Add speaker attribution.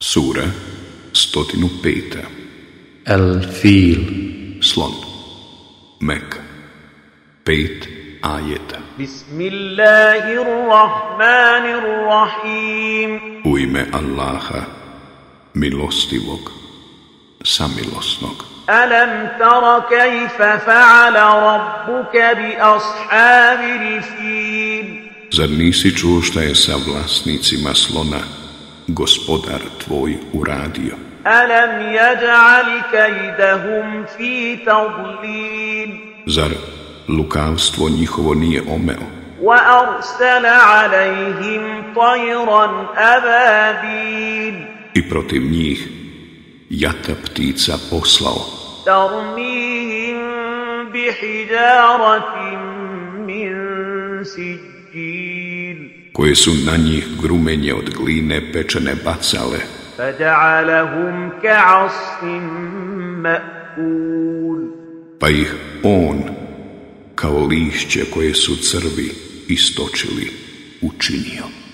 Speaker 1: Sura 105.
Speaker 2: الفيل
Speaker 1: Slon. Meka. Pet ajeta.
Speaker 3: بسم الله الرحمن الرحيم
Speaker 1: U ime Allaha, milostivog, samilosnog.
Speaker 3: ألم تر كيف فعل ربك بأصحاب الفيل
Speaker 1: Zar nisi čuo šta je sa vlasnicima slona gospodar tvoj uradio?
Speaker 3: ألم يجعل كيدهم في تضليل
Speaker 1: Zar lukavstvo njihovo nije omeo?
Speaker 3: وأرسل عليهم طيرا أبابيل
Speaker 1: I protiv njih jata ptica poslao,
Speaker 3: ترميهم بحجارة من سجيل
Speaker 1: koje su na njih grumenje od gline pečene bacale,
Speaker 3: فجعلهم كعصف مأكول
Speaker 1: pa ih on, kao lišće koje su crvi istočili, učinio.